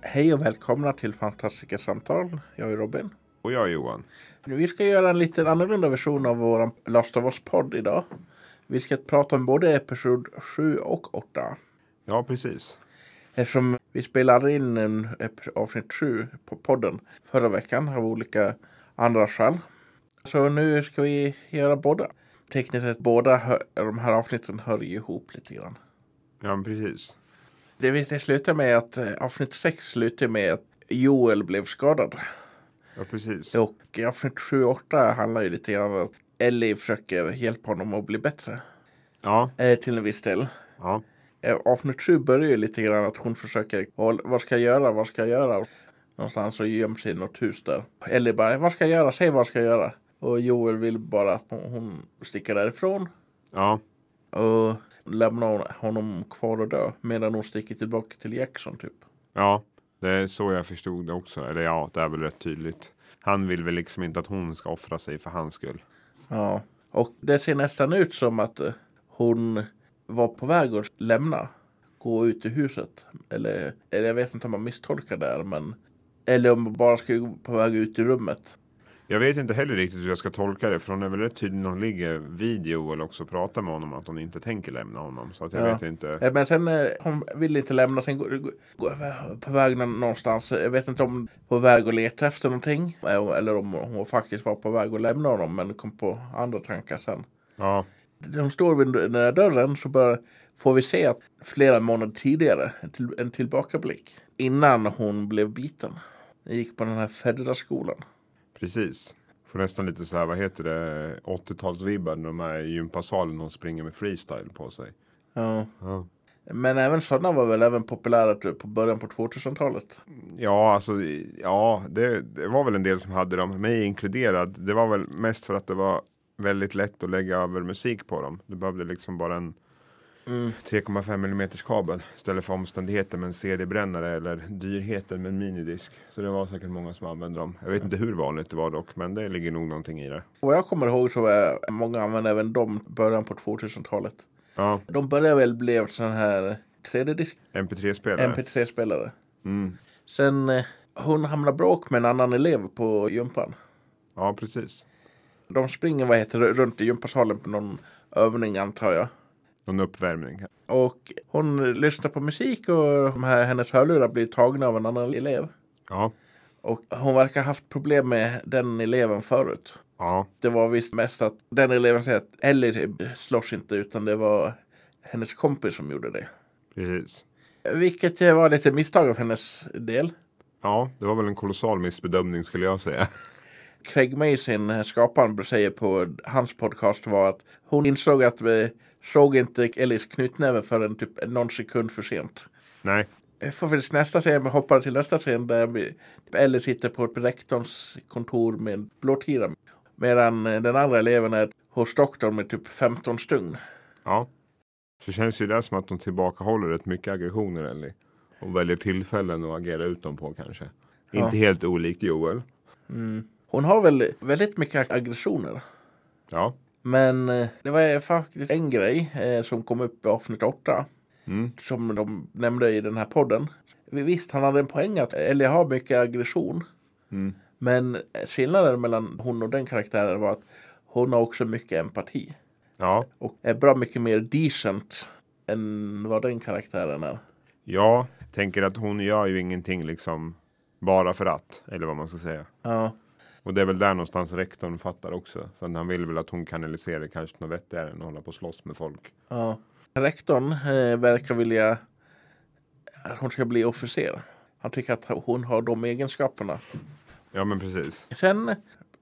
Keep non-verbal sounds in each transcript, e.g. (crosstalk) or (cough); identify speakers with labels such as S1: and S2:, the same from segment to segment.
S1: Hej och välkomna till Fantastiska samtal. Jag är Robin.
S2: Och jag är Johan.
S1: Vi ska göra en liten annorlunda version av vår Last of Us-podd idag. Vi ska prata om både episod 7 och 8.
S2: Ja, precis.
S1: Eftersom vi spelade in en ep- avsnitt 7 på podden förra veckan av olika andra skäl. Så nu ska vi göra båda. Tekniskt sett båda hö- de här avsnitten hör ju ihop lite grann.
S2: Ja, men precis.
S1: Det vi- det slutar med att eh, avsnitt 6 slutar med att Joel blev skadad.
S2: Ja, precis.
S1: Och i avsnitt 7 och 8 handlar ju lite grann om att Ellie försöker hjälpa honom att bli bättre.
S2: Ja,
S1: Eh, till en viss del.
S2: ja,
S1: Eh, avsnitt 7 börjar ju lite grann att hon försöker, vad, vad ska jag göra, vad ska jag göra? Någonstans så göms i något hus där. Ellie bara, vad ska jag göra, säg vad ska jag göra? Och Joel vill bara att hon- hon sticker därifrån.
S2: ja,
S1: Och lämnar honom kvar och dö. Medan hon sticker tillbaka till Jackson typ.
S2: ja. Det är så jag förstod det också. Eller ja, det är väl rätt tydligt. Han vill väl liksom inte att hon ska offra sig för hans skull.
S1: Ja, och det ser nästan ut som att eh, hon var på väg att lämna. Gå ut ur huset. Eller, eller jag vet inte om man misstolkar det här, men... Eller om hon bara skulle gå på väg ut ur rummet.
S2: Jag vet inte heller riktigt hur jag ska tolka det, för hon är väl rätt tydlig när hon ligger vid Joel också och pratar med honom att hon inte tänker lämna honom. Så att jag
S1: Ja.
S2: vet inte.
S1: Eh, Men sen, eh, hon vill inte lämna. Sen går, går- går på väg nå- någonstans. Jag vet inte om på väg att leta efter någonting. eh, Eller om hon faktiskt var på väg att lämna honom, men kom på andra tankar sen.
S2: Ja,
S1: När de står vid den där dörren så bör, får vi se att flera månader tidigare, en, till, en tillbakablick, innan hon blev biten. Jag gick på den här Fedra-skolan.
S2: precis. Får nästan lite så här, vad heter det, 80-talsvibbar när de är i gympasalen och springer med freestyle på sig.
S1: Ja.
S2: Ja.
S1: Men även sådana var väl även populära typ, på början på 2000-talet.
S2: Ja, alltså, ja det, det var väl en del som hade dem, mig inkluderad. Det var väl mest för att det var väldigt lätt att lägga över musik på dem. Du behövde liksom bara en 3,5 mm kabel istället för omständigheter med en CD-brännare eller dyrheten med en minidisk. Så det var säkert många som använde dem. Jag vet inte hur vanligt det var dock, men det ligger nog någonting i det.
S1: Vad jag kommer ihåg så var många använde även dem i början på 2000-talet.
S2: Ja,
S1: De började väl bli sådana här 3D-disk,
S2: MP3-spelare.
S1: MP3-spelare.
S2: Mm.
S1: Sen eh, hon hamnade bråk med en annan elev på gympan.
S2: Ja, precis.
S1: De springer, vad heter det, runt i gympasalen på någon övning antar jag.
S2: Någon uppvärmning.
S1: Och hon lyssnar på musik och de här, hennes hörlurar blir tagna av en annan elev.
S2: Ja,
S1: Och hon verkar haft problem med den eleven förut.
S2: ja,
S1: Det var visst mest att den eleven säger att Ellie typ slåss inte utan det var hennes kompis som gjorde det.
S2: precis.
S1: Vilket eh, var lite misstag av hennes del.
S2: Ja, det var väl en kolossal missbedömning skulle jag säga. (laughs)
S1: Craig Mason, skaparen, säger på hans podcast var att hon insåg att vi såg inte Ellies knytnäve förrän typ någon sekund för sent.
S2: Nej,
S1: Jag får väl nästa scen, vi hoppar till nästa scen där vi, Ellie sitter på rektorns kontor med en blåtira. Medan eh, den andra eleven är hos doktorn med typ 15 stugn.
S2: Ja. Så känns ju det som att de tillbakahåller rätt mycket aggressioner Ellie. Och väljer tillfällen att agera ut dem på kanske.
S1: Ja.
S2: Inte helt olikt Joel.
S1: Hon har väl väldigt mycket aggressioner.
S2: Ja,
S1: Men eh, det var faktiskt en grej eh, som kom upp i avsnitt 8.
S2: Mm.
S1: Som de nämnde i den här podden. Visst, han hade en poäng att Ellie har mycket aggression.
S2: Mm.
S1: Men eh, skillnaden mellan hon och den karaktären var att hon har också mycket empati.
S2: ja,
S1: Och är bra mycket mer decent än vad den karaktären är.
S2: jag tänker att hon gör ju ingenting liksom bara för att. Eller vad man ska säga.
S1: Ja,
S2: Och det är väl där någonstans rektorn fattar också. Sen han vill väl att hon kanaliserar det kanske något vettigare än att hålla på och slåss med folk.
S1: ja. Rektorn eh, verkar vilja att hon ska bli officer. Han tycker att hon har de egenskaperna.
S2: Ja men precis.
S1: Sen,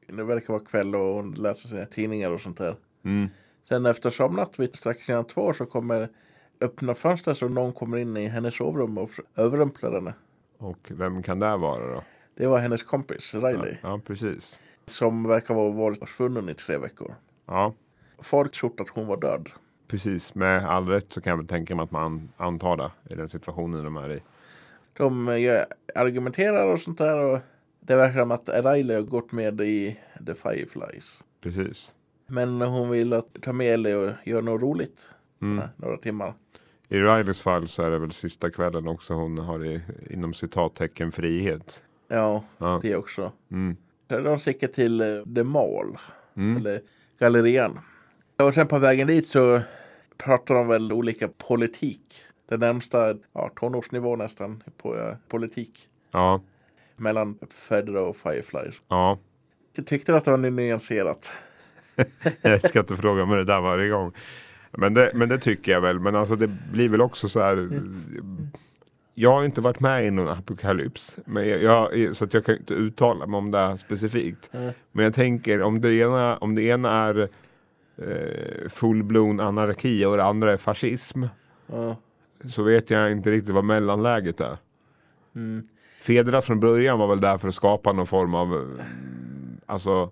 S1: det verkar vara kväll och hon läser sina tidningar och sånt där.
S2: Mm.
S1: Sen efter somnat vid strax innan två så kommer öppna fönster så någon kommer in i hennes sovrum och överrumplar henne.
S2: Och vem kan det vara då?
S1: Det var hennes kompis Riley
S2: Ja precis.
S1: som verkar ha varit försvunnen i tre veckor.
S2: Ja.
S1: Folk trodde att hon var död.
S2: Precis, med all rätt så kan jag väl tänka mig att man antar det i den situationen de är i.
S1: De eh, gör- argumenterar och sånt där och det verkar som att Riley har gått med i The Fireflies.
S2: Precis.
S1: Men hon vill att ta med Ellie och göra något roligt.
S2: Mm.
S1: eh, Några timmar.
S2: I Rileys fall så är det väl sista kvällen också hon har i, inom citattecken frihet.
S1: Ja,
S2: Ja.
S1: det också.
S2: Mm.
S1: Sen De sticker till eh, The Mall,
S2: Mm.
S1: eller gallerian. Och sen på vägen dit så pratar de väl olika politik. Det närmsta, ja, tonårsnivå nästan, på eh, politik.
S2: Ja,
S1: Mellan Fedra och Fireflies.
S2: ja. (laughs)
S1: Jag tyckte att det var nyanserat.
S2: Jag ska inte fråga mig det där varje gång. Men det, men det tycker jag väl. Men alltså det blir väl också så här. Jag har ju inte varit med i någon apokalyps. Men jag, jag, så att jag kan ju inte uttala mig om det här specifikt.
S1: Mm.
S2: Men jag tänker om det ena, om det ena är eh, full-blown anarki och det andra är fascism.
S1: Ja.
S2: Så vet jag inte riktigt vad mellanläget är.
S1: Mm.
S2: Fedra från början var väl där för att skapa någon form av eh, Alltså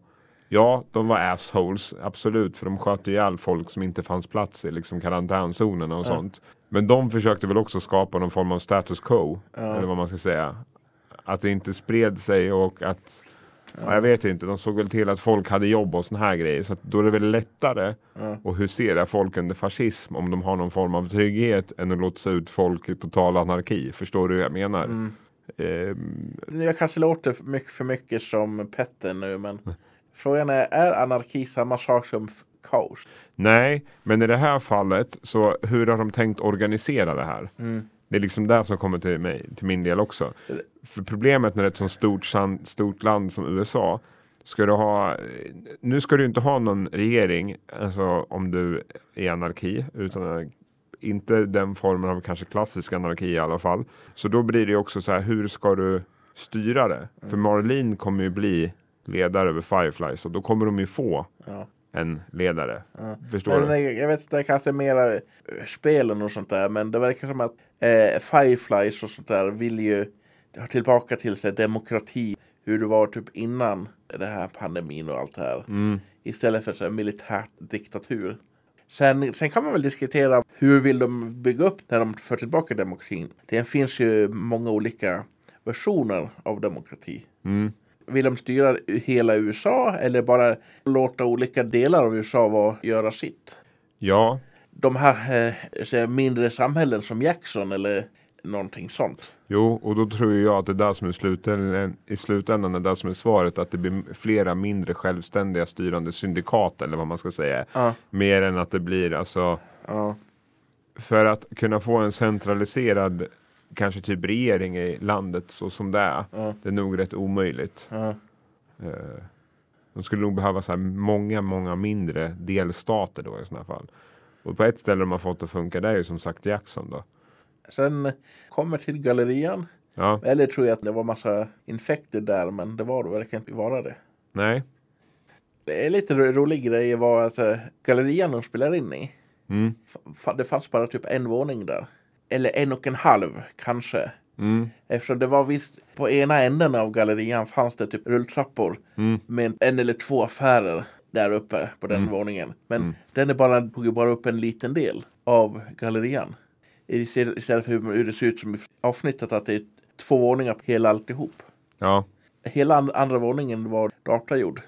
S2: Ja, de var assholes, absolut. För de sköt ihjäl folk som inte fanns plats i liksom karantänzonerna och
S1: Ja.
S2: sånt. Men de försökte väl också skapa någon form av status quo. Eller vad man ska säga. Att det inte spred sig och att Ja, jag vet inte, de såg väl till att folk hade jobb och såna här grejer. Så att då är det väl lättare att husera folk under fascism om de har någon form av trygghet än att låta ut folk i total anarki. Förstår du hur jag menar? Ehm,
S1: Jag kanske låter för mycket, för mycket som Petter nu, men frågan är, är anarki samma sak som f- kaos?
S2: Nej, men i det här fallet så hur har de tänkt organisera det här? Det är liksom det som kommer till, mig, till min del också. För problemet när det är ett så stort, san- stort land som USA Ska du ha, nu ska du inte ha någon regering alltså om du är anarki. Utan eh, inte den formen av kanske klassisk anarki i alla fall. Så då blir det ju också så här, hur ska du styra det? För Marlene kommer ju bli ledare över Fireflies och då kommer de ju få
S1: Ja.
S2: en ledare. Förstår
S1: Men,
S2: du?
S1: jag, jag vet inte, det kanske är mera eh, spelen och sånt där, men det verkar som att eh, Fireflies och sånt där vill ju ha tillbaka till sig demokrati, hur det var typ innan det här pandemin och allt det här.
S2: Mm.
S1: Istället för så här militärt diktatur. Sen, sen kan man väl diskutera hur vill de bygga upp när de för tillbaka demokratin. Det finns ju många olika versioner av demokrati.
S2: Mm.
S1: Vill de styra hela USA eller bara låta olika delar av USA vara, göra sitt?
S2: Ja,
S1: de här eh, så här mindre samhällen som Jackson eller någonting sånt.
S2: jo, och då tror ju jag att det där som är slutändan, i slutändan är det där som är svaret. Att det blir flera mindre självständiga styrande syndikat eller vad man ska säga.
S1: Ja.
S2: Mer än att det blir alltså
S1: Ja.
S2: för att kunna få en centraliserad kanske typ regering i landet så som det är.
S1: Ja.
S2: Det är nog rätt omöjligt.
S1: Ja.
S2: Eh, De skulle nog behöva så här många, många mindre delstater då i sådana fall. Och på ett ställe de har fått att funka det är ju som sagt Jackson då.
S1: Sen kommer till gallerian.
S2: Ja,
S1: Eller tror jag att det var massa infekter där, men det var det verkar inte vara det.
S2: nej.
S1: Det är lite ro- rolig grej var att eh, gallerian de spelar in i,
S2: Mm.
S1: fa- fa- det fanns bara typ en våning där. Eller en och en halv kanske.
S2: Mm.
S1: Eftersom det var visst, på ena änden av gallerian fanns det typ rulltrappor
S2: Mm.
S1: med en eller två affärer där uppe på den våningen. Men den är bara, tog ju bara upp en liten del av gallerian. Istället istället för hur det ser ut som i avsnittet att det är två våningar på hela alltihop.
S2: Ja,
S1: Hela and- andra våningen var datagjord.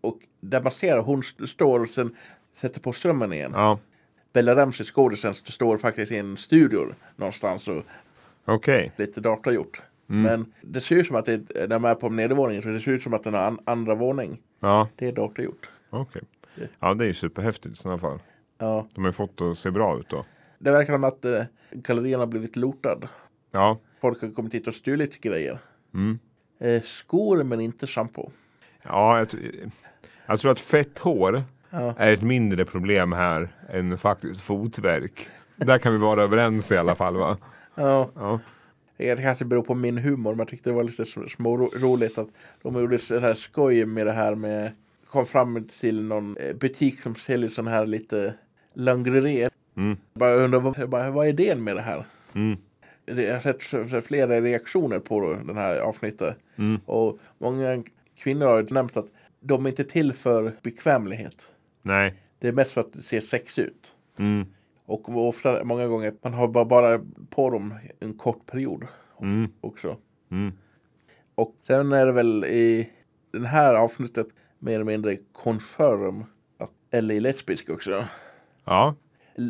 S1: Och där man ser hon st- står och sen sätter på strömmen igen.
S2: ja.
S1: Bella Ramsey, skådisen, st- står faktiskt i en studio någonstans och
S2: okej.
S1: lite datagjort. Men det ser ut som att det, är- när man är på nedervåningen så det ser ut som att den har an, andra våning.
S2: Ja,
S1: Det är datagjort.
S2: okej. Ja, det är ju superhäftigt i sådana fall.
S1: Ja,
S2: De har ju fått det att se bra ut då.
S1: det verkar som att eh, gallerian har blivit lotad.
S2: Ja,
S1: Folk har kommit hit och stulit grejer.
S2: mm.
S1: Eh, skor men inte shampoo.
S2: ja jag, t- jag tror att fett hår
S1: Ja.
S2: är ett mindre problem här än faktiskt fotvärk. Där kan vi vara överens i alla fall va?
S1: Ja,
S2: Ja,
S1: det kanske beror på min humor men jag tyckte det var lite sm- småroligt att de gjorde så här skoj med det här med kom fram till någon eh, butik som säljer sån här lite lingerie.
S2: Mm.
S1: Bara undrar vad, bara, vad är idén med det här?
S2: mm.
S1: det- jag har sett så- så flera reaktioner på den här avsnittet.
S2: Mm.
S1: Och många kvinnor har ju nämnt att de är inte till för bekvämlighet.
S2: nej.
S1: Det är mest för att se sex ut.
S2: Mm.
S1: Och ofta, många gånger, man har bara, bara på dem en kort period
S2: Mm.
S1: också.
S2: Mm.
S1: Och sen är det väl i den här avsnittet mer eller mindre confirm att Ellie är lesbisk också.
S2: Ja,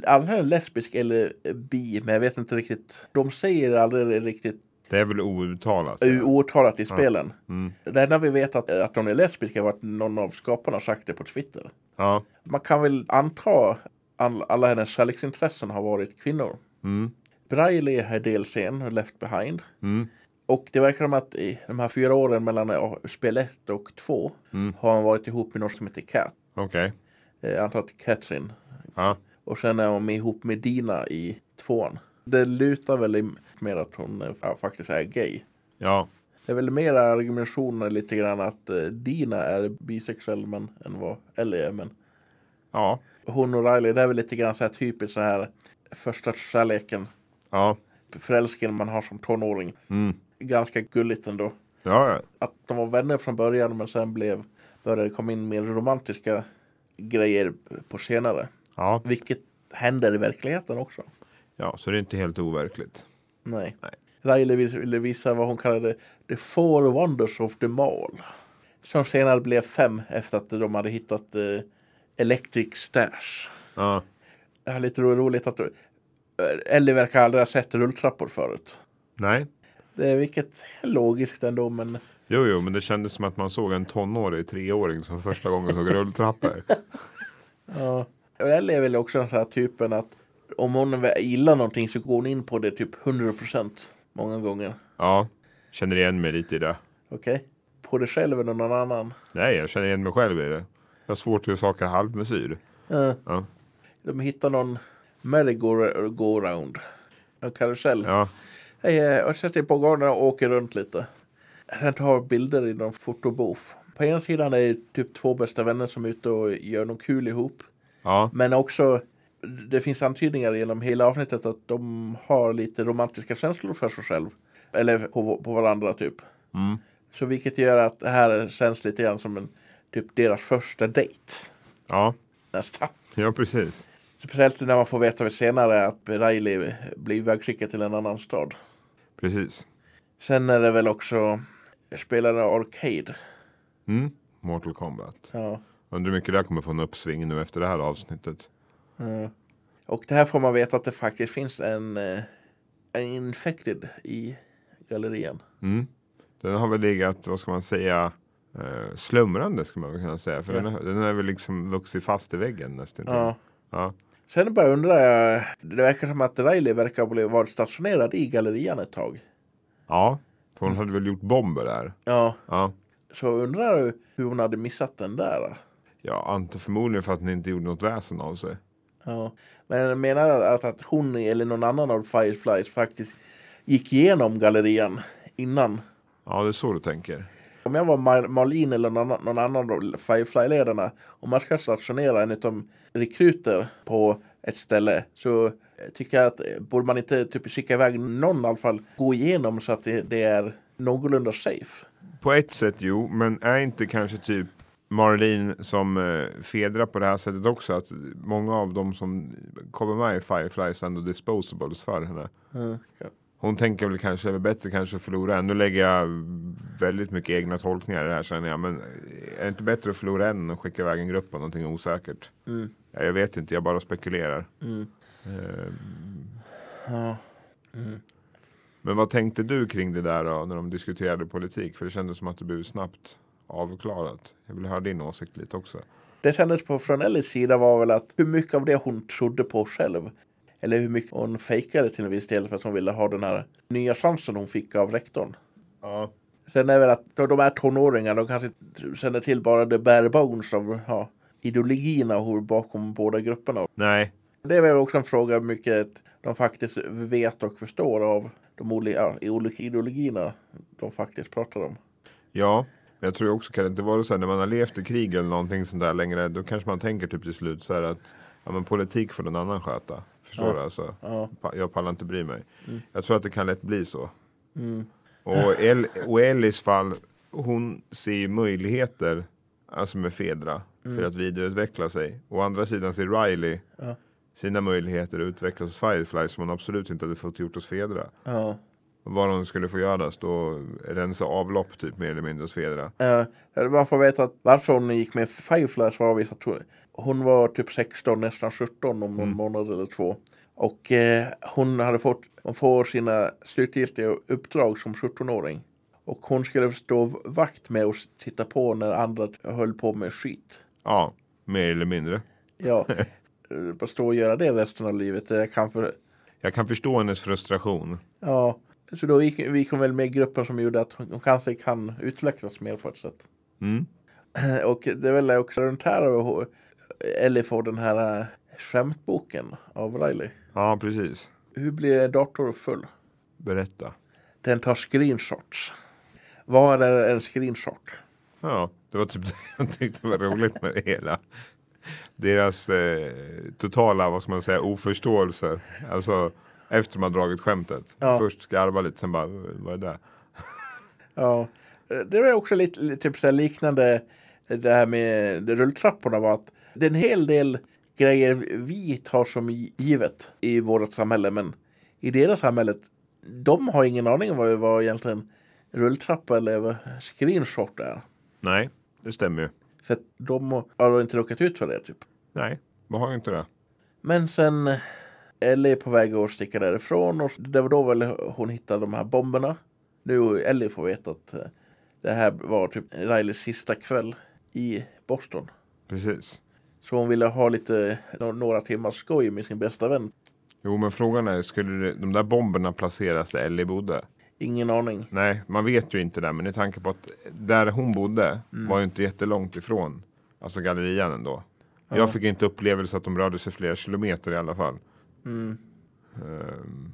S1: antingen lesbisk eller bi, men jag vet inte riktigt. De säger aldrig riktigt
S2: Det är väl outtalat?
S1: o- outtalat i spelen.
S2: Mm.
S1: Det enda vi vet att, att de är lesbiska var att någon av skaparna har sagt det på Twitter.
S2: Ja.
S1: Man kan väl anta all, alla hennes kärleksintressen har varit kvinnor.
S2: Mm.
S1: Braille är delscen, Left Behind.
S2: Mm.
S1: Och det verkar som att i de här fyra åren mellan eh, spel 1 och 2
S2: Mm.
S1: har han varit ihop med någon som heter Cat.
S2: Okej.
S1: Eh, Jag antar att det är Katrin.
S2: Ja.
S1: Och sen är hon med ihop med Dina i tvåan. Det lutar väl i- mer att hon eh, fa- faktiskt är gay.
S2: Ja.
S1: Det är väl mer argumentationen lite grann att eh, Dina är bisexuell men, än vad Ellie är. Men
S2: Ja.
S1: hon och Riley, det är väl lite grann så här typiskt så här första kärleken.
S2: Ja.
S1: Förälskelsen man har som tonåring.
S2: Mm.
S1: Ganska gulligt ändå.
S2: Ja. ja.
S1: att de var vänner från början men sen blev, började det komma in mer romantiska grejer på senare.
S2: Ja.
S1: Vilket händer i verkligheten också.
S2: Ja. Så det är inte helt overkligt.
S1: Nej.
S2: Nej.
S1: Riley vis- ville visa vad hon kallade the four wonders of the mall. Som senare blev fem efter att de hade hittat eh, Electric Stash.
S2: Ja.
S1: Det är lite ro- roligt att eh, Ellie verkar aldrig ha sett rulltrappor förut.
S2: Nej.
S1: Det är, vilket är logiskt ändå men
S2: Jo, jo, men det kändes som att man såg en tonårig treåring som första gången
S1: (laughs)
S2: såg rulltrappor.
S1: Ja. Eller är väl också den här typen att om hon väl gillar någonting så går hon in på det typ 100% många gånger.
S2: Ja. Känner igen mig lite i det.
S1: Okej? På dig själv eller någon annan.
S2: Nej, jag känner igen mig själv i det. Jag har svårt att göra saker halvmesyr.
S1: Ja.
S2: Ja.
S1: De hittar någon merry-go-round. En karusell.
S2: Ja.
S1: Hej, eh, och sätter på gården och åker runt lite. Sen tar bilder i någon fotobooth. På ena sidan är det typ två bästa vänner som är ute och gör något kul ihop.
S2: Ja.
S1: Men också, det finns antydningar genom hela avsnittet att de har lite romantiska känslor för sig själv. Eller på, på varandra typ.
S2: Mm.
S1: Så vilket gör att det här känns lite grann som en, typ deras första dejt.
S2: Ja.
S1: Nästan.
S2: Ja, precis.
S1: Speciellt när man får veta senare att Riley blir ivägskickad till en annan stad.
S2: Precis.
S1: Sen är det väl också spelare Arcade.
S2: Mm. Mortal Kombat.
S1: Ja.
S2: Undrar hur mycket det här kommer få en uppsving nu efter det här avsnittet.
S1: ja. eh. Och det här får man veta att det faktiskt finns en, eh, en infected i gallerian.
S2: Mm. Den har väl legat, vad ska man säga, eh, slumrande skulle man väl kunna säga. För
S1: Ja.
S2: den, har- den har väl liksom vuxit fast i väggen nästan.
S1: Ja.
S2: Ja.
S1: Sen bara undrar jag, det verkar som att Riley verkar ha blivit- varit stationerad i gallerian ett tag.
S2: ja. För hon hade väl gjort bomber där.
S1: Ja,
S2: Ja.
S1: så undrar du hur hon hade missat den där.
S2: Ja, antar förmodligen för att ni inte gjorde något väsen av sig.
S1: Ja. Men jag menar att, att hon eller någon annan av Fireflies faktiskt gick igenom gallerian innan.
S2: Ja, det är så du tänker.
S1: Om jag var Mar- Marlin eller någon annan, någon annan av Firefly-ledarna och man ska stationera en utav rekryter på ett ställe så eh, tycker jag att eh, borde man inte typ skicka iväg någon i alla fall gå igenom så att det, det är någorlunda safe.
S2: På ett sätt jo, men är inte kanske typ Marlene som eh, fedrar på det här sättet också? Att många av dem som kommer med i Fireflies är ändå disposables för henne. Hon tänker väl kanske, det är bättre kanske att förlora en. Nu lägger jag väldigt mycket egna tolkningar i det här känner jag. Men är det inte bättre att förlora en än att skicka iväg en grupp av någonting osäkert?
S1: Mm.
S2: Ja, jag vet inte, jag bara spekulerar.
S1: Mm.
S2: Eh,
S1: Ja.
S2: Men vad tänkte du kring det där då, när de diskuterade politik? För det kändes som att det blev snabbt avklarat. Jag vill höra din åsikt lite också.
S1: Det kändes på från Ellies sida var väl att hur mycket av det hon trodde på själv eller hur mycket hon fejkade till en viss del för att hon ville ha den här nya chansen hon fick av rektorn.
S2: Ja.
S1: Sen är väl att de de är tonåringar, de kanske inte känner till bara the bare bones av ja, ideologierna och hur bakom båda grupperna.
S2: Nej,
S1: Det är väl också en fråga hur mycket de faktiskt vet och förstår av de olika, ja, olika ideologierna de faktiskt pratar om.
S2: ja. Men Jag tror också kan det inte vara så här när man har levt i krig eller någonting sånt där längre. Då kanske man tänker typ till slut så här att ja, men politik får någon annan sköta. Förstår
S1: Ja.
S2: du alltså?
S1: Ja.
S2: Pa- Jag pallar inte bry mig. Jag tror att det kan lätt bli så.
S1: Mm.
S2: Och, El- och Ellis fall, hon ser ju möjligheter alltså med Fedra för att vidareutveckla sig. Å andra sidan ser Riley
S1: Mm. Ja.
S2: sina möjligheter att utvecklas hos Firefly som hon absolut inte hade fått gjort hos Fedra.
S1: Ja.
S2: vad de skulle få göra. Stå rensa avlopp typ mer eller mindre och svedra.
S1: Eh, man får veta att varför hon gick med Fireflies var visst att hon- hon var typ 16, nästan 17 om någon månad eller två. Och eh, hon hade fått, man får sina slutgiltiga uppdrag som 17-åring. Och hon skulle stå vakt med och titta på när andra höll på med skit.
S2: Ja, mer eller mindre.
S1: Ja, eh, bara stå och göra det resten av livet. Det kan för,
S2: Jag kan förstå hennes frustration.
S1: ja. Så då gick, vi kom väl med i gruppen som gjorde att hon hon kanske kan utvecklas mer på ett sätt.
S2: Mm.
S1: Eh, Och det är väl också runt här och Ellie får den här äh, skämtboken av Riley.
S2: Ja, precis.
S1: Hur blir dator full?
S2: Berätta.
S1: Den tar screenshots. Vad är en screenshot?
S2: Ja, det var typ (laughs) det jag tyckte var roligt med det hela. Deras eh, totala, vad ska man säga, oförståelse. Alltså efter man dragit skämtet.
S1: Ja.
S2: Först skarva lite, sen bara, vad är det?
S1: Ja, eh, det var också lite, lite typ så här liknande eh, det här med rulltrapporna var att det är en hel del grejer vi tar som gi- givet i vårt samhälle men i deras samhälle de har ingen aning om vad, vad egentligen rulltrappa eller vad screenshot är.
S2: Nej, det stämmer ju.
S1: För att de har då inte råkat ut för det typ.
S2: Nej, man har ju inte det.
S1: Men sen eh, Ellie är på väg att sticka därifrån och det var då väl hon hittade de här bomberna. Nu Ellie får veta att eh, det här var typ Rileys sista kväll i Boston.
S2: Precis.
S1: Så hon ville ha lite, nå- några timmars skoj med sin bästa vän.
S2: Jo, men frågan är, skulle det- de där bomberna placeras där Ellie bodde?
S1: Ingen aning.
S2: Nej, man vet ju inte det, men i tanke på att där hon bodde var ju inte jättelångt ifrån, alltså gallerian ändå.
S1: Ja.
S2: Jag fick inte upplevelse att de rörde sig flera kilometer i alla fall.
S1: Mm.
S2: Ehm,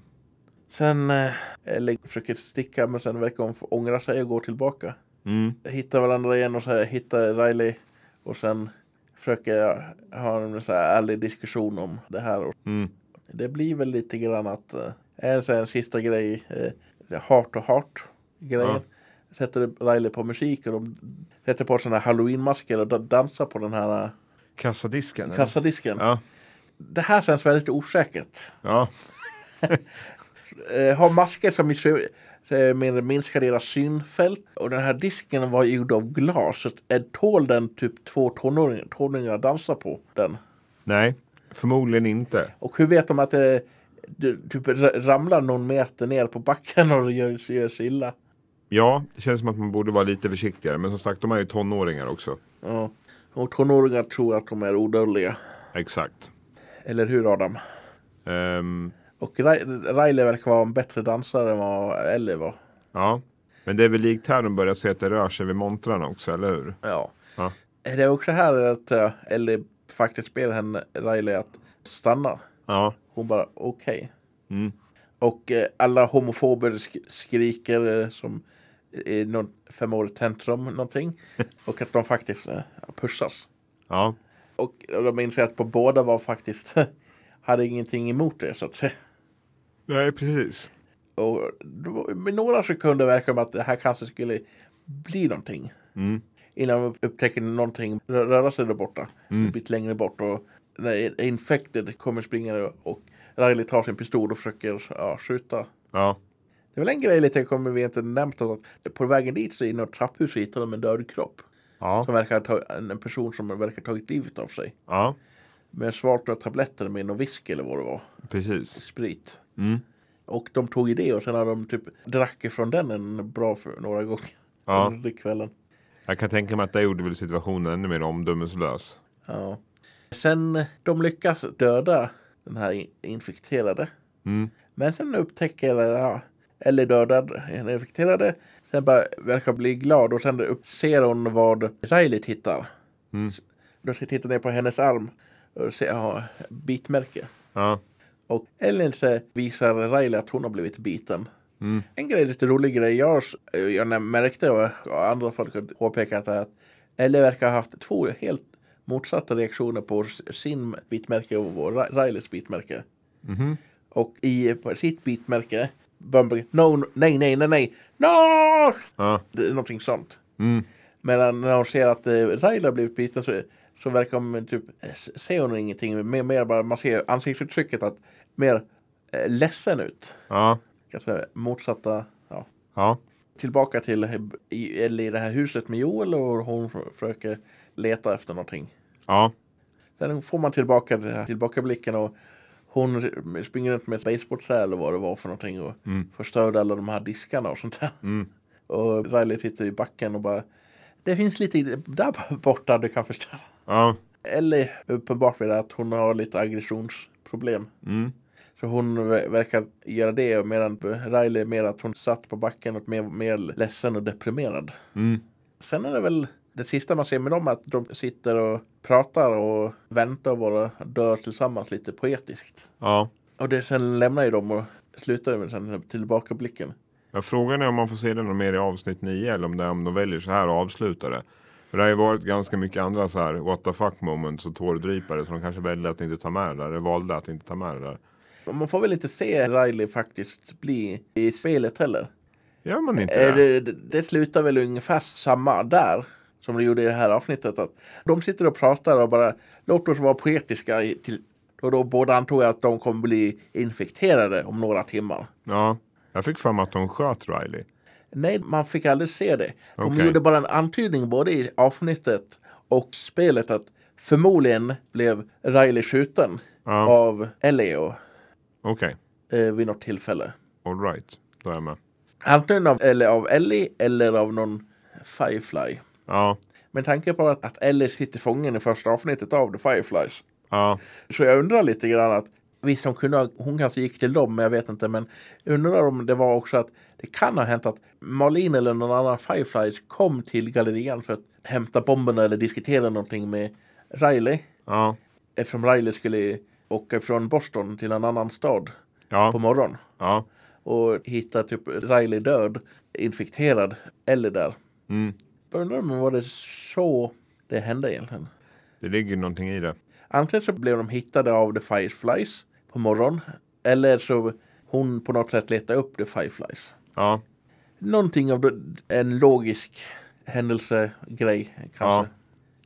S1: Sen eh, Ellie försöker sticka men sen verkar hon få ångra sig och gå tillbaka.
S2: mm,
S1: hitta varandra igen och så här, hitta Riley och sen försöker jag ha en så här ärlig diskussion om det här. Och
S2: mm.
S1: det blir väl lite grann att eh, en, så här, en sista grej, eh, heart och heart grejen. Sätter Riley på musik och de sätter på sådana här halloween-masker och da- dansar på den här eh,
S2: Kassadisken? eller?
S1: kassadisken.
S2: Ja,
S1: Det här känns väldigt osäkert.
S2: ja,
S1: Eh, har masker som i sy- eh, mer- minskar deras synfält. Och den här disken var gjord av glas. Så att, eh, tål den typ två tonåringar, tonåringar att dansa på den?
S2: nej, förmodligen inte.
S1: Och hur vet de att det det typ ra- ramlar någon meter ner på backen och gör, gör sig illa?
S2: Ja, det känns som att man borde vara lite försiktigare, men som sagt, de är ju tonåringar också.
S1: Ja. Och tonåringar tror att de är odödliga.
S2: Exakt.
S1: Eller hur Adam?
S2: Ehm,
S1: Och Ri- Riley verkar vara en bättre dansare än vad Ellie var.
S2: ja, men det är väl likt här de börjar se att det rör sig vid montrarna också, eller hur?
S1: Ja.
S2: Ja.
S1: Det är också här att eh, Ellie faktiskt ber henne, Riley, att stanna.
S2: Ja,
S1: Hon bara okej.
S2: mm.
S1: Och eh, alla homofober sk- skriker eh, som i någon femårig tantrum
S2: (laughs)
S1: någonting. Och att de faktiskt eh, pussas.
S2: ja,
S1: Och de inser att på båda var faktiskt (laughs) hade ingenting emot det så att säga.
S2: nej, precis.
S1: Och då- med några sekunder verkar det som att det här kanske skulle bli någonting.
S2: Mm.
S1: Innan de upptäcker någonting rö- röra sig där borta.
S2: Mm.
S1: En bit längre bort. Och när infected kommer springande och Riley tar sin pistol och försöker ja, skjuta
S2: Ja,
S1: Det är väl en grej lite kommer vi inte nämnt att på vägen dit så i något trapphus så hittar de en död kropp.
S2: ja,
S1: Som verkar ha ta- en en person som verkar ha tagit livet av sig.
S2: ja,
S1: Med svarta tabletter med någon whisky eller vad det var.
S2: precis.
S1: Sprit.
S2: Mm.
S1: Och de tog i det och sen har de typ drack ifrån den en bra för några gånger
S2: Ja.
S1: under kvällen.
S2: Jag kan tänka mig att det gjorde väl situationen ännu mer omdömeslös.
S1: Ja. Sen de lyckas döda den här in- infekterade.
S2: Mm.
S1: Men sen upptäcker ja, eller dödad den infekterade. Sen bara verkar bli glad och sen upp- ser hon vad Riley hittar.
S2: Mm.
S1: S- Då ska titta ner på hennes arm och ser ja, bitmärke.
S2: Ja,
S1: Och Ellen så visar Riley att hon har blivit biten.
S2: mm.
S1: En grej, lite rolig grej jag, s- jag när- märkte och och andra folk har påpekat är att Ellen verkar ha haft två helt motsatta reaktioner på s- sin bitmärke och vår Ri- Rileys bitmärke.
S2: Mhm.
S1: Och i på sitt bitmärke Bumble, no, no, nej, nej, nej, nej, no!
S2: ja,
S1: Det är någonting sånt.
S2: mm.
S1: Medan när hon ser att eh, Riley har blivit biten så, så verkar hon typ, s- ser hon ingenting. Mer, mer bara, man ser ansiktsuttrycket att mer eh, ledsen ut.
S2: ja,
S1: kan säga, motsatta, ja,
S2: Ja.
S1: tillbaka till eh, i, eller i det här huset med Joel och hon försöker leta efter någonting.
S2: Ja.
S1: Sen får man tillbaka den här tillbakablicken och hon springer runt med ett baseboardträ eller vad det var för någonting och
S2: Mm.
S1: förstörde alla de här diskarna och sånt där.
S2: Mm.
S1: Och Riley sitter i backen och bara Det finns lite där borta du kan förstöra.
S2: Ja.
S1: Eller uppenbart är det att hon har lite aggressionsproblem.
S2: Mm.
S1: Så hon ver- verkar göra det medan Riley är mer att hon satt på backen och mer, mer ledsen och deprimerad.
S2: Mm.
S1: Sen är det väl det sista man ser med dem att de sitter och pratar och väntar och bara dör tillsammans lite poetiskt.
S2: Ja.
S1: Och det sen lämnar ju dem och slutar med sen tillbakablicken.
S2: Jag frågar är om man får se det något mer i avsnitt 9 eller om, det, om de väljer så här och avslutar det. För det har ju varit ganska mycket andra så här what the fuck moments och tårdrypare så de kanske väljer att inte ta med det där. Eller valde att inte ta med det där.
S1: Och Man får väl inte se Riley faktiskt bli i spelet heller.
S2: Gör man inte
S1: Eh, Det,
S2: det?
S1: det, det slutar väl ungefär samma där som det gjorde i det här avsnittet. Att de sitter och pratar och bara låt oss vara poetiska. i- Till, och då båda antog jag att de kommer bli infekterade om några timmar.
S2: Ja. Jag fick för mig att de sköt Riley.
S1: Nej, man fick aldrig se det. De
S2: Okej.
S1: gjorde bara en antydning både i avsnittet och spelet att förmodligen blev Riley skjuten
S2: Ja.
S1: av Elio
S2: Okej.
S1: eh, vid något tillfälle.
S2: All right. Då är jag med.
S1: Antingen av, eller av Ellie eller av någon Firefly.
S2: Ja.
S1: Med tanke på att, att Ellie sitter fången i första avsnittet av The Fireflies
S2: Ja.
S1: så jag undrar lite grann att visst hon kunde ha, hon kanske gick till dem, men jag vet inte. Men jag undrar om det var också att det kan ha hänt att Marlin eller någon annan Fireflies kom till gallerian för att hämta bomberna eller diskutera någonting med Riley.
S2: Ja.
S1: Eftersom Riley skulle åka från Boston till en annan stad på
S2: Ja.
S1: morgonen
S2: Ja.
S1: och hitta typ Riley död, infekterad eller där.
S2: Mm.
S1: Jag undrar om det var det så det hände egentligen.
S2: Det ligger ju någonting i det.
S1: Antingen så blev de hittade av The Fireflies på morgonen. Eller så hon på något sätt letade upp The Fireflies.
S2: Ja.
S1: Någonting av det- en logisk händelsegrej kanske.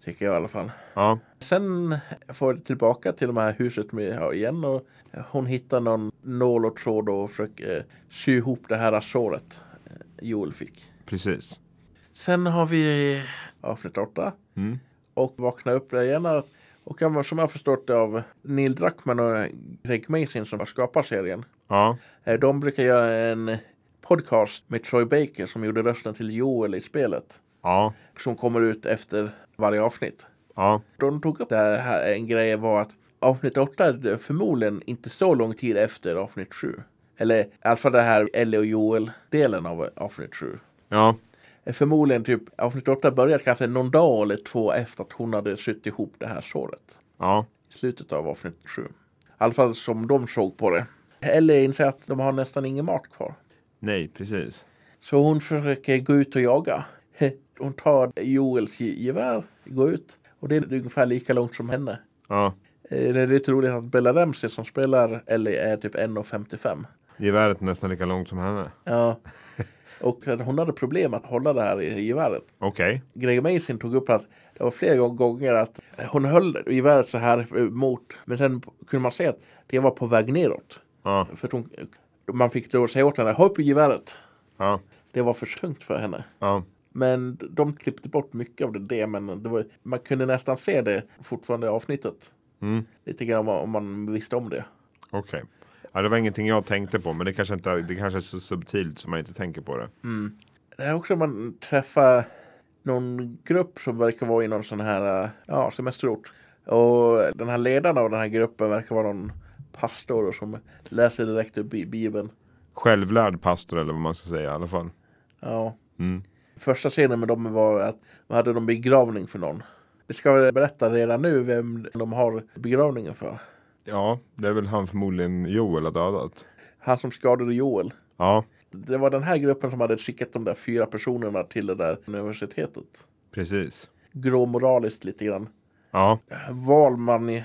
S1: Tycker jag i alla fall.
S2: Ja.
S1: Sen får vi tillbaka till det här huset med, ja, igen och hon hittar någon nål och tråd och försöker eh, sy ihop det här såret eh, Joel fick.
S2: Precis.
S1: Sen har vi avsnitt 8
S2: Mm.
S1: och vakna upp där igen. Att- Och jag- som jag har förstått det av Neil Druckmann och Greg Mason som har skapat serien.
S2: Ja.
S1: eh, De brukar göra en podcast med Troy Baker som gjorde rösten till Joel i spelet.
S2: Ja.
S1: Som kommer ut efter varje avsnitt.
S2: Ja.
S1: De tog upp det här, en grej var att avsnitt 8 är förmodligen inte så lång tid efter avsnitt 7. Eller i alla fall det här Ellie och Joel-delen av avsnitt 7.
S2: Ja.
S1: Förmodligen typ avsnitt 8 började kanske någon dag eller två efter att hon hade suttit ihop det här såret.
S2: Ja.
S1: i slutet av avsnitt 7. I alla fall som de såg på det. Eller inser att de har nästan ingen mat kvar.
S2: Nej, precis.
S1: Så hon försöker gå ut och jaga. (laughs) Hon tar Joels ge- gevär, går ut. Och det är ungefär lika långt som henne.
S2: Ja.
S1: Eh, Det är lite roligt att Bella Ramsey som spelar Ellie är typ 1,55.
S2: Geväret är nästan lika långt som henne.
S1: Ja. Och att hon hade problem att hålla det här i geväret.
S2: Okej.
S1: Greg Mason tog upp att det var flera gånger att hon höll geväret så här eh, mot. Men sen kunde man se att det var på väg neråt.
S2: Ja.
S1: För att hon, man fick då säga åt henne, ha upp geväret.
S2: Ja.
S1: Det var för tungt för henne.
S2: Ja.
S1: Men de klippte bort mycket av det, det men det var, man kunde nästan se det fortfarande i avsnittet.
S2: Mm.
S1: Lite grann om man, om man visste om det.
S2: Okej. Ja, det var ingenting jag tänkte på, men det kanske, inte, det kanske är så subtilt som man inte tänker på det.
S1: Det är också när man träffar någon grupp som verkar vara i någon sån här eh, ja, semesterort. Och den här ledaren av den här gruppen verkar vara någon pastor som läser direkt ur Bi- Bibeln.
S2: Självlärd pastor eller vad man ska säga i alla fall.
S1: Ja.
S2: Mm.
S1: Första scenen med dem var att de hade någon begravning för någon. Vi ska väl berätta redan nu vem de har begravningen för.
S2: Ja, det är väl han förmodligen Joel har dödat.
S1: Han som skadade Joel.
S2: Ja,
S1: Det var den här gruppen som hade skickat de där fyra personerna till det där universitetet.
S2: precis.
S1: Gråmoraliskt lite grann.
S2: Ja,
S1: Val man i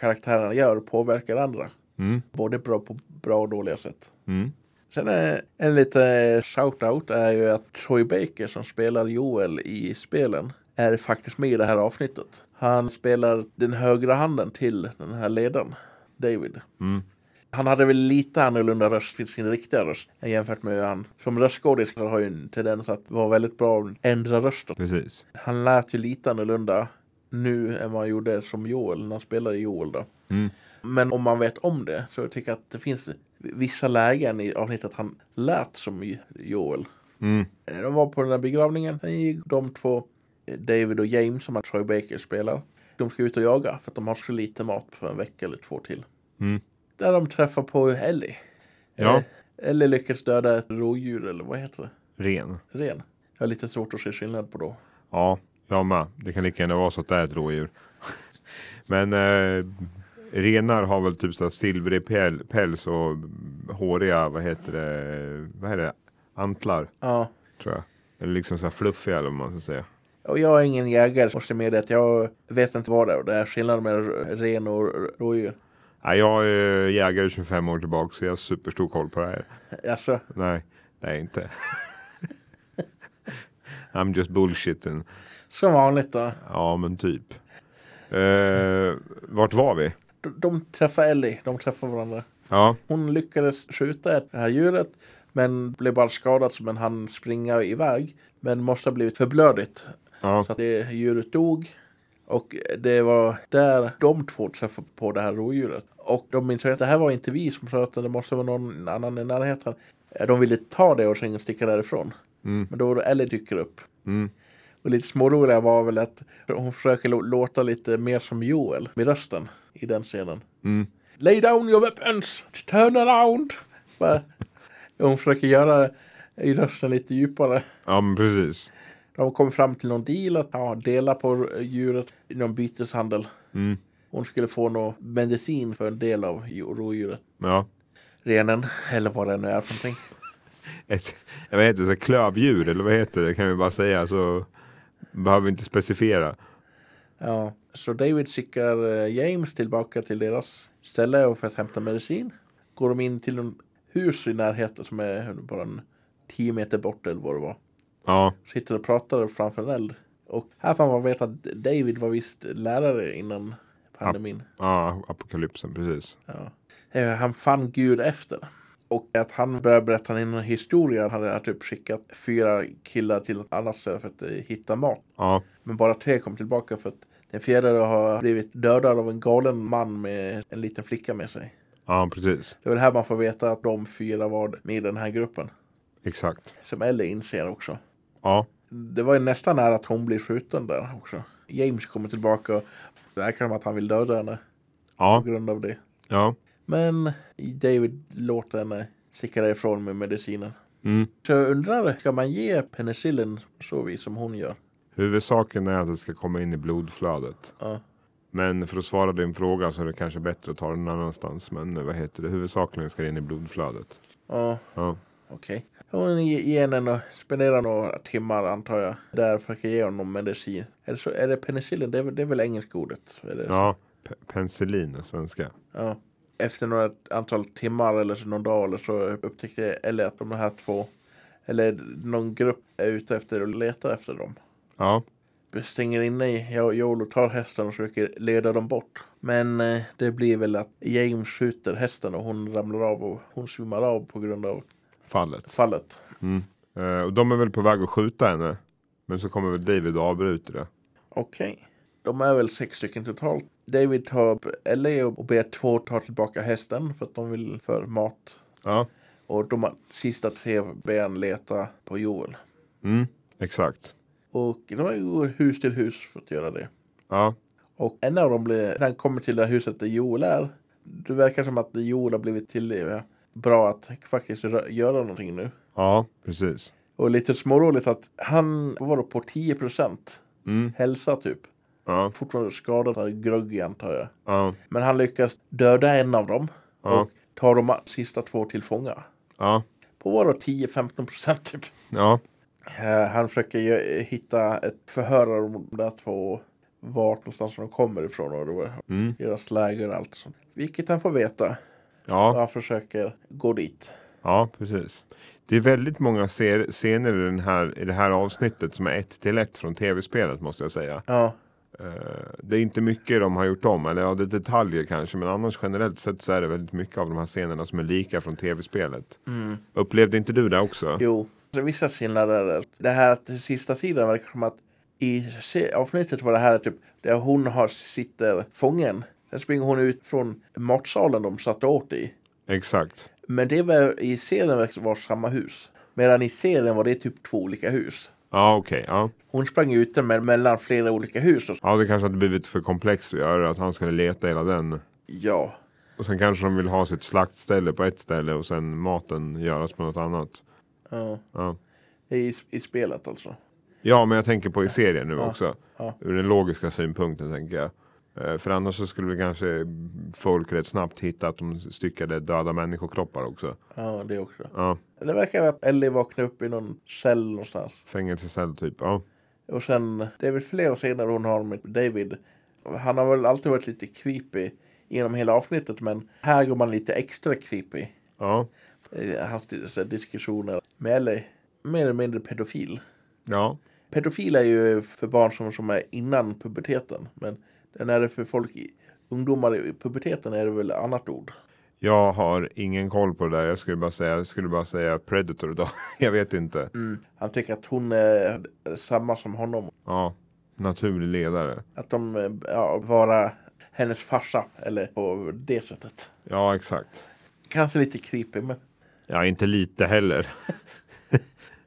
S1: karaktärerna gör påverkar andra.
S2: mm,
S1: Både bra på bra och dåliga sätt.
S2: mm,
S1: Sen eh, en liten shout-out är ju att Troy Baker som spelar Joel i spelen är faktiskt med i det här avsnittet. Han spelar den högra handen till den här ledaren, David.
S2: mm.
S1: Han hade väl lite annorlunda röst till sin riktiga röst jämfört med hur han som röstskådis har ju en tendens att vara väldigt bra att ändra rösten.
S2: Precis.
S1: Han lät ju lite annorlunda nu än vad han gjorde som Joel när han spelade Joel då.
S2: Mm.
S1: Men om man vet om det så tycker jag att det finns vissa lägen i avsnittet att han lät som Joel.
S2: Mm.
S1: Eh, De var på den där begravningen. Sen gick de två, eh, David och James, som att Troy Baker spelar. De ska ut och jaga för att de har så lite mat för en vecka eller två till.
S2: Mm.
S1: Där de träffar på Ellie.
S2: Ja.
S1: Eh, Ellie lyckas döda ett rådjur eller vad heter
S2: Ren.
S1: det? Ren. Jag har lite svårt att se skillnad på då.
S2: Ja, jag med. Det kan lika gärna vara så att det är ett rådjur. (laughs) Men eh, renar har väl typ så här silvrig päl- päls och håriga, vad heter det, vad är det, antlar
S1: Ja.
S2: tror jag. Eller liksom så här fluffiga eller vad man ska säga.
S1: Och jag är ingen jägare, måste medge att jag vet inte vad det är. Det är skillnad mellan ren och r- rådjur.
S2: Nej, jag är jägare 25 år tillbaka så jag har superstor koll på det här.
S1: Alltså,
S2: Nej, det är jag inte. (laughs) I'm just bullshitting.
S1: som vanligt då.
S2: Ja, men typ. Eh, vart var vi?
S1: De, de träffar Ellie, de träffar varandra.
S2: Ja,
S1: Hon lyckades skjuta det här djuret men blev bara skadad så men han springa iväg. Men måste ha blivit för blödigt.
S2: ja,
S1: Så att det djuret dog. Och det var där de två träffade på det här rådjuret. Och de insåg att det här var inte vi som sa utan det måste vara någon annan i närheten. Eh, De ville ta det och sen sticka därifrån.
S2: Mm.
S1: Men då Ellie dyker upp.
S2: mm,
S1: Och lite småroliga var väl att hon försöker lo- låta lite mer som Joel med rösten i den scenen.
S2: mm.
S1: Lay down your weapons! Turn around! Bara, hon försöker göra i rösten lite djupare.
S2: ja, men precis.
S1: De kommer fram till någon deal att ja, dela på djuret i någon byteshandel.
S2: Mm.
S1: Hon skulle få någon medicin för en del av jo- rådjuret.
S2: Ja.
S1: Renen, eller vad det nu är för någonting.
S2: Ett, vad heter det? Så här Klövdjur eller vad heter det? Kan vi bara säga så behöver vi inte specificera.
S1: Ja. Så David skickar eh, James tillbaka till deras ställe och för att hämta medicin. Går de in till en hus i närheten som är bara en 10 meter bort eller vad det var.
S2: Ja,
S1: sitter och pratar framför en eld. Och här får man veta att David var visst lärare innan pandemin.
S2: ja apokalypsen precis.
S1: Ja. Eh, Han fann Gud efter. Och att han började berätta en historia. Han hade typ skickat fyra killar till ett annat ställe för att eh, hitta mat.
S2: Ja,
S1: Men bara tre kom tillbaka för att den fjärde har blivit dödad av en galen man med en liten flicka med sig.
S2: ja precis.
S1: Det är väl här man får veta att de fyra var med i den här gruppen.
S2: Exakt.
S1: Som Ellie inser också.
S2: Ja,
S1: Det var ju nästan nära att hon blir skjuten där också. James kommer tillbaka och det verkar som att han vill döda henne på
S2: ja,
S1: grund av det.
S2: ja.
S1: Men David låter henne sticka därifrån med medicinen.
S2: Mm.
S1: Så jag undrar, ska man ge penicillin så vis som hon gör?
S2: Huvudsaken är att det ska komma in i blodflödet.
S1: Ja.
S2: Men för att svara din fråga så är det kanske bättre att ta den annanstans. Men eh, vad heter det? Huvudsakligen ska det in i blodflödet.
S1: Ja,
S2: Ja,
S1: okej. Hon ge- ger henne och spenderar några timmar antar jag. Där försöker ge honom medicin. Eller så är det penicillin, det är, väl- det är väl engelska ordet? Är det?
S2: ja. Pe- penicillin är svenska.
S1: Ja. Efter några antal timmar eller så någon dag eller så upptäckte Ellie att de här två eller någon grupp är ute efter och letar efter dem.
S2: Ja,
S1: Vi stänger inne i- jag och Joel och tar hästen och försöker leda dem bort. Men eh, det blir väl att James skjuter hästen och hon ramlar av och hon svimmar av på grund av
S2: fallet.
S1: fallet.
S2: Mm. Eh, och de är väl på väg att skjuta henne. Men så kommer väl David och avbryter det.
S1: Okej. De är väl sex stycken totalt. David tar upp Ellie och ber två ta tillbaka hästen för att de vill för mat.
S2: Ja.
S1: Och de sista tre ber han leta på Joel.
S2: Mm. Exakt.
S1: Och de går hus till hus för att göra det.
S2: Ja.
S1: Och en av dem blir, när han kommer till det här huset där Joel är. Det verkar som att Joel har blivit till det bra att faktiskt rö- göra någonting nu.
S2: Ja, precis.
S1: Och lite småroligt att han var då på 10%
S2: Mm.
S1: hälsa typ.
S2: Ja.
S1: Fortfarande skadad, han är groggy antar jag.
S2: Ja.
S1: Men han lyckas döda en av dem.
S2: Ja.
S1: Och tar de sista två till fånga.
S2: Ja.
S1: På var då 10-15% typ.
S2: Ja.
S1: Eh, Han försöker ju hitta ett förhör om de där två. Vart någonstans de kommer ifrån och då- eh,
S2: Mm.
S1: deras läger och allt sånt. Vilket han får veta. Och
S2: Ja.
S1: han försöker gå dit.
S2: Ja, precis. Det är väldigt många ser- scener i, den här, i det här avsnittet som är ett till ett från tv-spelet måste jag säga.
S1: Ja,
S2: Eh, det är inte mycket de har gjort om, eller ja, det är detaljer kanske, men annars generellt sett så är det väldigt mycket av de här scenerna som är lika från tv-spelet. Upplevde inte du det också?
S1: Jo, det är vissa skillnader. är att Det här att det sista tiden verkar som att i se- avsnittet var det här typ där hon har, sitter fången. Sen springer hon ut från matsalen de satt åt i.
S2: Exakt.
S1: Men det var, i serien verkar det vara samma hus. Medan i serien var det typ två olika hus.
S2: Ja, okej. ja.
S1: Hon sprang ut men mellan flera olika hus. Och,
S2: ja, det kanske hade blivit för komplext att göra, att han skulle leta hela den.
S1: ja,
S2: Och sen kanske de vill ha sitt slaktställe på ett ställe och sen maten göras på något annat.
S1: ja,
S2: Ja.
S1: i, i spelet alltså.
S2: Ja, men jag tänker på i serien nu också.
S1: ja.
S2: Ur den logiska synpunkten tänker jag. Eh, För annars så skulle vi kanske folk rätt snabbt hitta att de styckade döda människokroppar också.
S1: Ja, det också.
S2: Ja,
S1: Det verkar vara att Ellie vaknar upp i någon cell någonstans.
S2: fängelsecell typ. Ja.
S1: Och sen, det är väl flera scener hon har med David. Han har väl alltid varit lite creepy genom hela avsnittet men här går man lite extra creepy.
S2: Ja.
S1: i Hans så här, diskussioner med Ellie. Mer eller mindre pedofil.
S2: Ja.
S1: Pedofil är ju för barn som, som är innan puberteten. Men den är det för folk, i- ungdomar i puberteten är det väl annat ord.
S2: Jag har ingen koll på det där. Jag skulle bara säga, jag skulle bara säga predator då. (laughs) jag vet inte.
S1: Han tycker att hon är samma som honom.
S2: Ja. Naturlig ledare.
S1: Att de eh, ja, vara hennes farsa eller på det sättet.
S2: Ja, exakt.
S1: Kanske lite creepy men
S2: Ja, inte lite heller.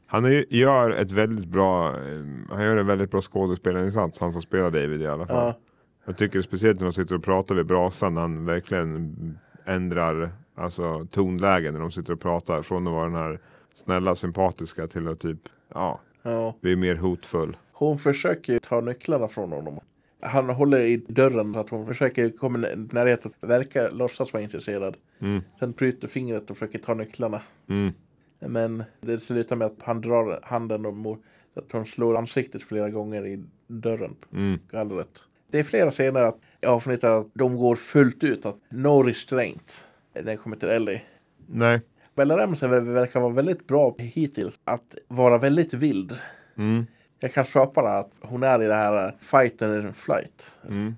S2: han är, ju- gör ett väldigt bra, eh, han gör en väldigt bra skådespelarinsats, han som spelar David i alla fall.
S1: ja.
S2: Jag tycker speciellt när de sitter och pratar vid brasan, när han verkligen ändrar alltså, tonläge när de sitter och pratar. Från att vara den här snälla, sympatiska till att typ, ja,
S1: ja.
S2: vi är mer hotfull.
S1: Hon försöker ju ta nycklarna från honom. Han håller i dörren så att hon försöker komma i närheten. Verkar låtsas vara intresserad.
S2: Mm.
S1: Sen bryter fingret och försöker ta nycklarna.
S2: Mm.
S1: Men det slutar med att han drar handen och mor- att hon slår ansiktet flera gånger i dörren på
S2: Mm.
S1: gallret. Det är flera scener att i avsnittet att de går fullt ut. Att no restraint. när det kommer till Ellie.
S2: Nej.
S1: Bella Ramsey ver- verkar vara väldigt bra hittills att vara väldigt vild.
S2: Mm.
S1: Jag kan köpa det att hon är i det här eh, fight and flight.
S2: Mm.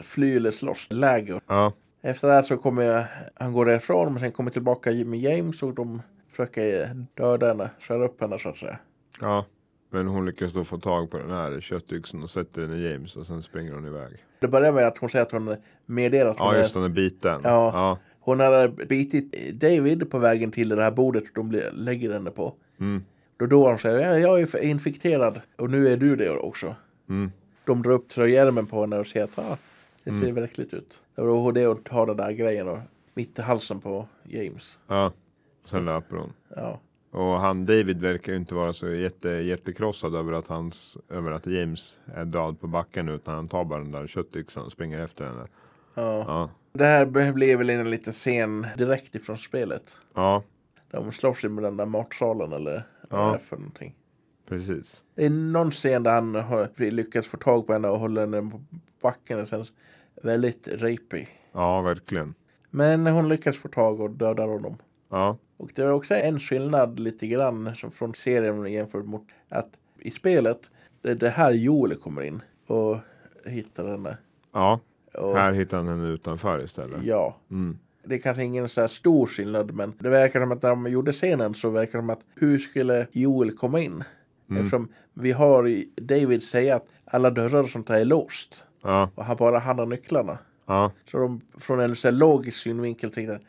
S1: Fly eller slåss läger.
S2: Ja.
S1: Efter det här så kommer han går därifrån men sen kommer tillbaka med James och de försöker eh, döda henne, köra upp henne så att säga.
S2: ja. Men hon lyckas då få tag på den här köttyxen och sätter den i James och sen springer hon iväg.
S1: Det börjar med att hon säger att hon meddelar att hon,
S2: Ja,
S1: är-
S2: just den är biten.
S1: Ja.
S2: ja.
S1: hon hade bitit eh, David på vägen till det här bordet de blir- lägger henne på.
S2: Mm.
S1: Då då hon säger ja, jag är infekterad och nu är du det också.
S2: Mm.
S1: De drar upp tröjärmen på henne och säger att ah, det ser verkligt ut. Och då har det och tar den där grejen och mitt i halsen på James.
S2: ja. Sen löper hon.
S1: Ja.
S2: Och han David verkar ju inte vara så jätte, hjärtekrossad över att, hans, över att James är död på backen utan han tar bara den där köttyxan och springer efter henne.
S1: Ja.
S2: Ja,
S1: Det här blev väl en liten scen direkt ifrån spelet.
S2: ja
S1: De slåss ju med den där matsalen eller vad det är för någonting.
S2: precis.
S1: Det är någon scen där han har lyckats få tag på henne och håller henne på backen. Det känns väldigt rapey.
S2: Ja, verkligen.
S1: Men hon lyckas få tag och dödar honom.
S2: Ja,
S1: Och det är också en skillnad lite grann som från serien jämfört mot att i spelet, det är det här Joel kommer in och hittar henne.
S2: ja.
S1: Och,
S2: här hittar han henne utanför istället.
S1: Ja.
S2: Mm.
S1: Det är kanske ingen så här stor skillnad men det verkar som att när de gjorde scenen så verkar det som att hur skulle Joel komma in? Eftersom vi har i- David säga att alla dörrar och sånt här är låst
S2: Ja,
S1: och han bara handlar nycklarna.
S2: ja,
S1: Så de från en så här logisk synvinkel tänkte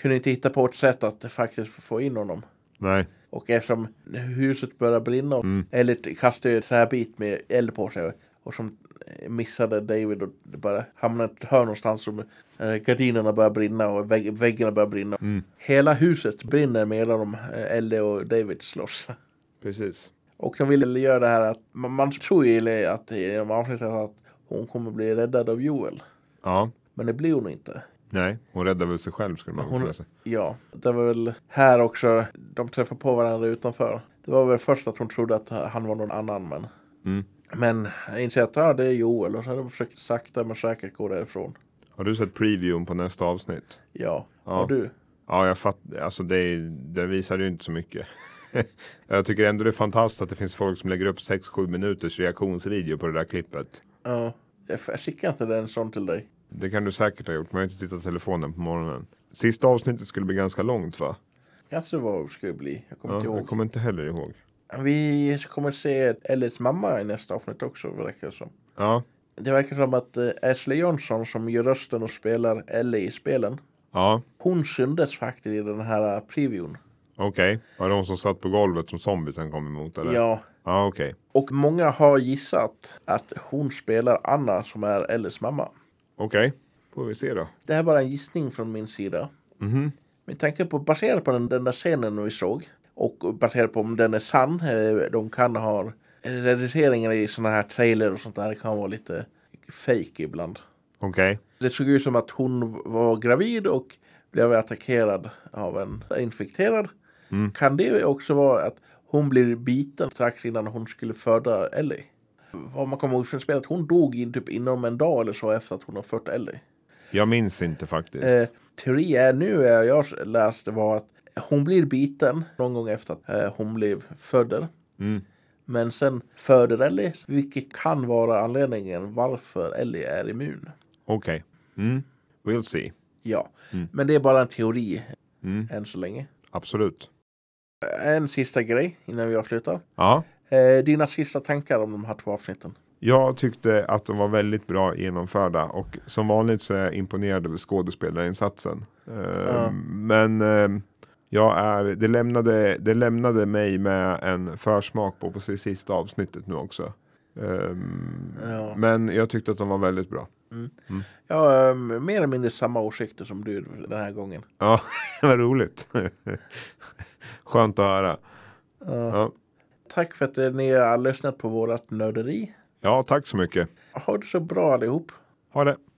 S1: kunde inte hitta på ett sätt att faktiskt få in honom.
S2: nej,
S1: Och eftersom huset började brinna eller kastade en träbit med eld på sig och som eh, missade David och det bara hamnade i ett hörn någonstans och eh, gardinerna började brinna och vägg, väggarna började brinna. Hela huset brinner medan de, eh, Ellie och David slåss. (laughs)
S2: precis.
S1: Och de ville göra det här att man, man tror ju eller att eh, i de avsnitten att hon kommer bli räddad av Joel.
S2: Ja,
S1: Men det blir hon inte.
S2: nej, hon räddar väl sig själv skulle man
S1: Hon-
S2: kunna säga.
S1: Ja, det var väl här också de träffade på varandra utanför. Det var väl först att hon trodde att han var någon annan men.
S2: Mm.
S1: Men jag inser att ah, det är Joel och så har de försökt sakta men säkert gå därifrån.
S2: Har du sett previewn på nästa avsnitt?
S1: Ja,
S2: Ja.
S1: och du?
S2: Ja, jag fattar. Alltså det, är- det visar ju inte så mycket. (laughs) jag tycker ändå det är fantastiskt att det finns folk som lägger upp 6-7 minuters reaktionsvideo på det där klippet.
S1: Ja, Jag jag skickar inte den sån till dig.
S2: Det kan du säkert ha gjort, men jag har inte tittat på telefonen på morgonen. Sista avsnittet skulle bli ganska långt va?
S1: Kanske det var skulle bli. Jag kommer
S2: Ja,
S1: inte
S2: jag
S1: ihåg.
S2: kommer inte heller ihåg.
S1: Vi kommer se Ellis mamma i nästa avsnitt också verkar det som.
S2: Ja,
S1: Det verkar som att eh, Ashley Johnson som gör rösten och spelar Ellie i spelen.
S2: ja,
S1: Hon syndes faktiskt i den här eh, previewn.
S2: okej. Var det hon som satt på golvet som zombiesen kom emot eller?
S1: Ja.
S2: Ja, okej.
S1: Och många har gissat att hon spelar Anna som är Ellis mamma.
S2: Okej, får vi se då.
S1: Det här är bara en gissning från min sida.
S2: Mhm.
S1: Med tanke på, baserat på den, den där scenen vi såg och baserat på om den är sann, eh, de kan ha eh, redigeringar i såna här trailer och sånt där kan vara lite fake ibland.
S2: Okej,
S1: Det såg ut som att hon var gravid och blev attackerad av en infekterad.
S2: Mm.
S1: Kan det också vara att hon blir biten strax innan hon skulle föda Ellie? Vad man kommer ihåg från spelet, hon dog in typ inom en dag eller så efter att hon har fött Ellie.
S2: jag minns inte faktiskt.
S1: Eh, teori är nu, är jag läste var att hon blir biten någon gång efter att eh, hon blev född.
S2: Mm.
S1: Men sen föder Ellie, vilket kan vara anledningen varför Ellie är immun.
S2: Okej, mm. we'll see.
S1: Ja,
S2: Mm.
S1: men det är bara en teori
S2: Mm.
S1: än så länge.
S2: Absolut.
S1: En sista grej innan vi avslutar.
S2: Ja,
S1: Eh, dina sista tankar om de här två avsnitten?
S2: jag tyckte att de var väldigt bra genomförda och som vanligt så är jag imponerad över skådespelarinsatsen. Eh, Men eh, jag är, det, lämnade, det lämnade mig med en försmak på precis sista avsnittet nu också. Eh,
S1: Ja.
S2: Men jag tyckte att de var väldigt bra.
S1: Jag har eh, mer eller mindre samma åsikter som du den här gången.
S2: Ja, (laughs) vad roligt. (laughs) Skönt att höra. Ja.
S1: Tack för att eh, ni har lyssnat på vårat nörderi.
S2: ja, tack så mycket.
S1: Ha det så bra allihop.
S2: Ha det.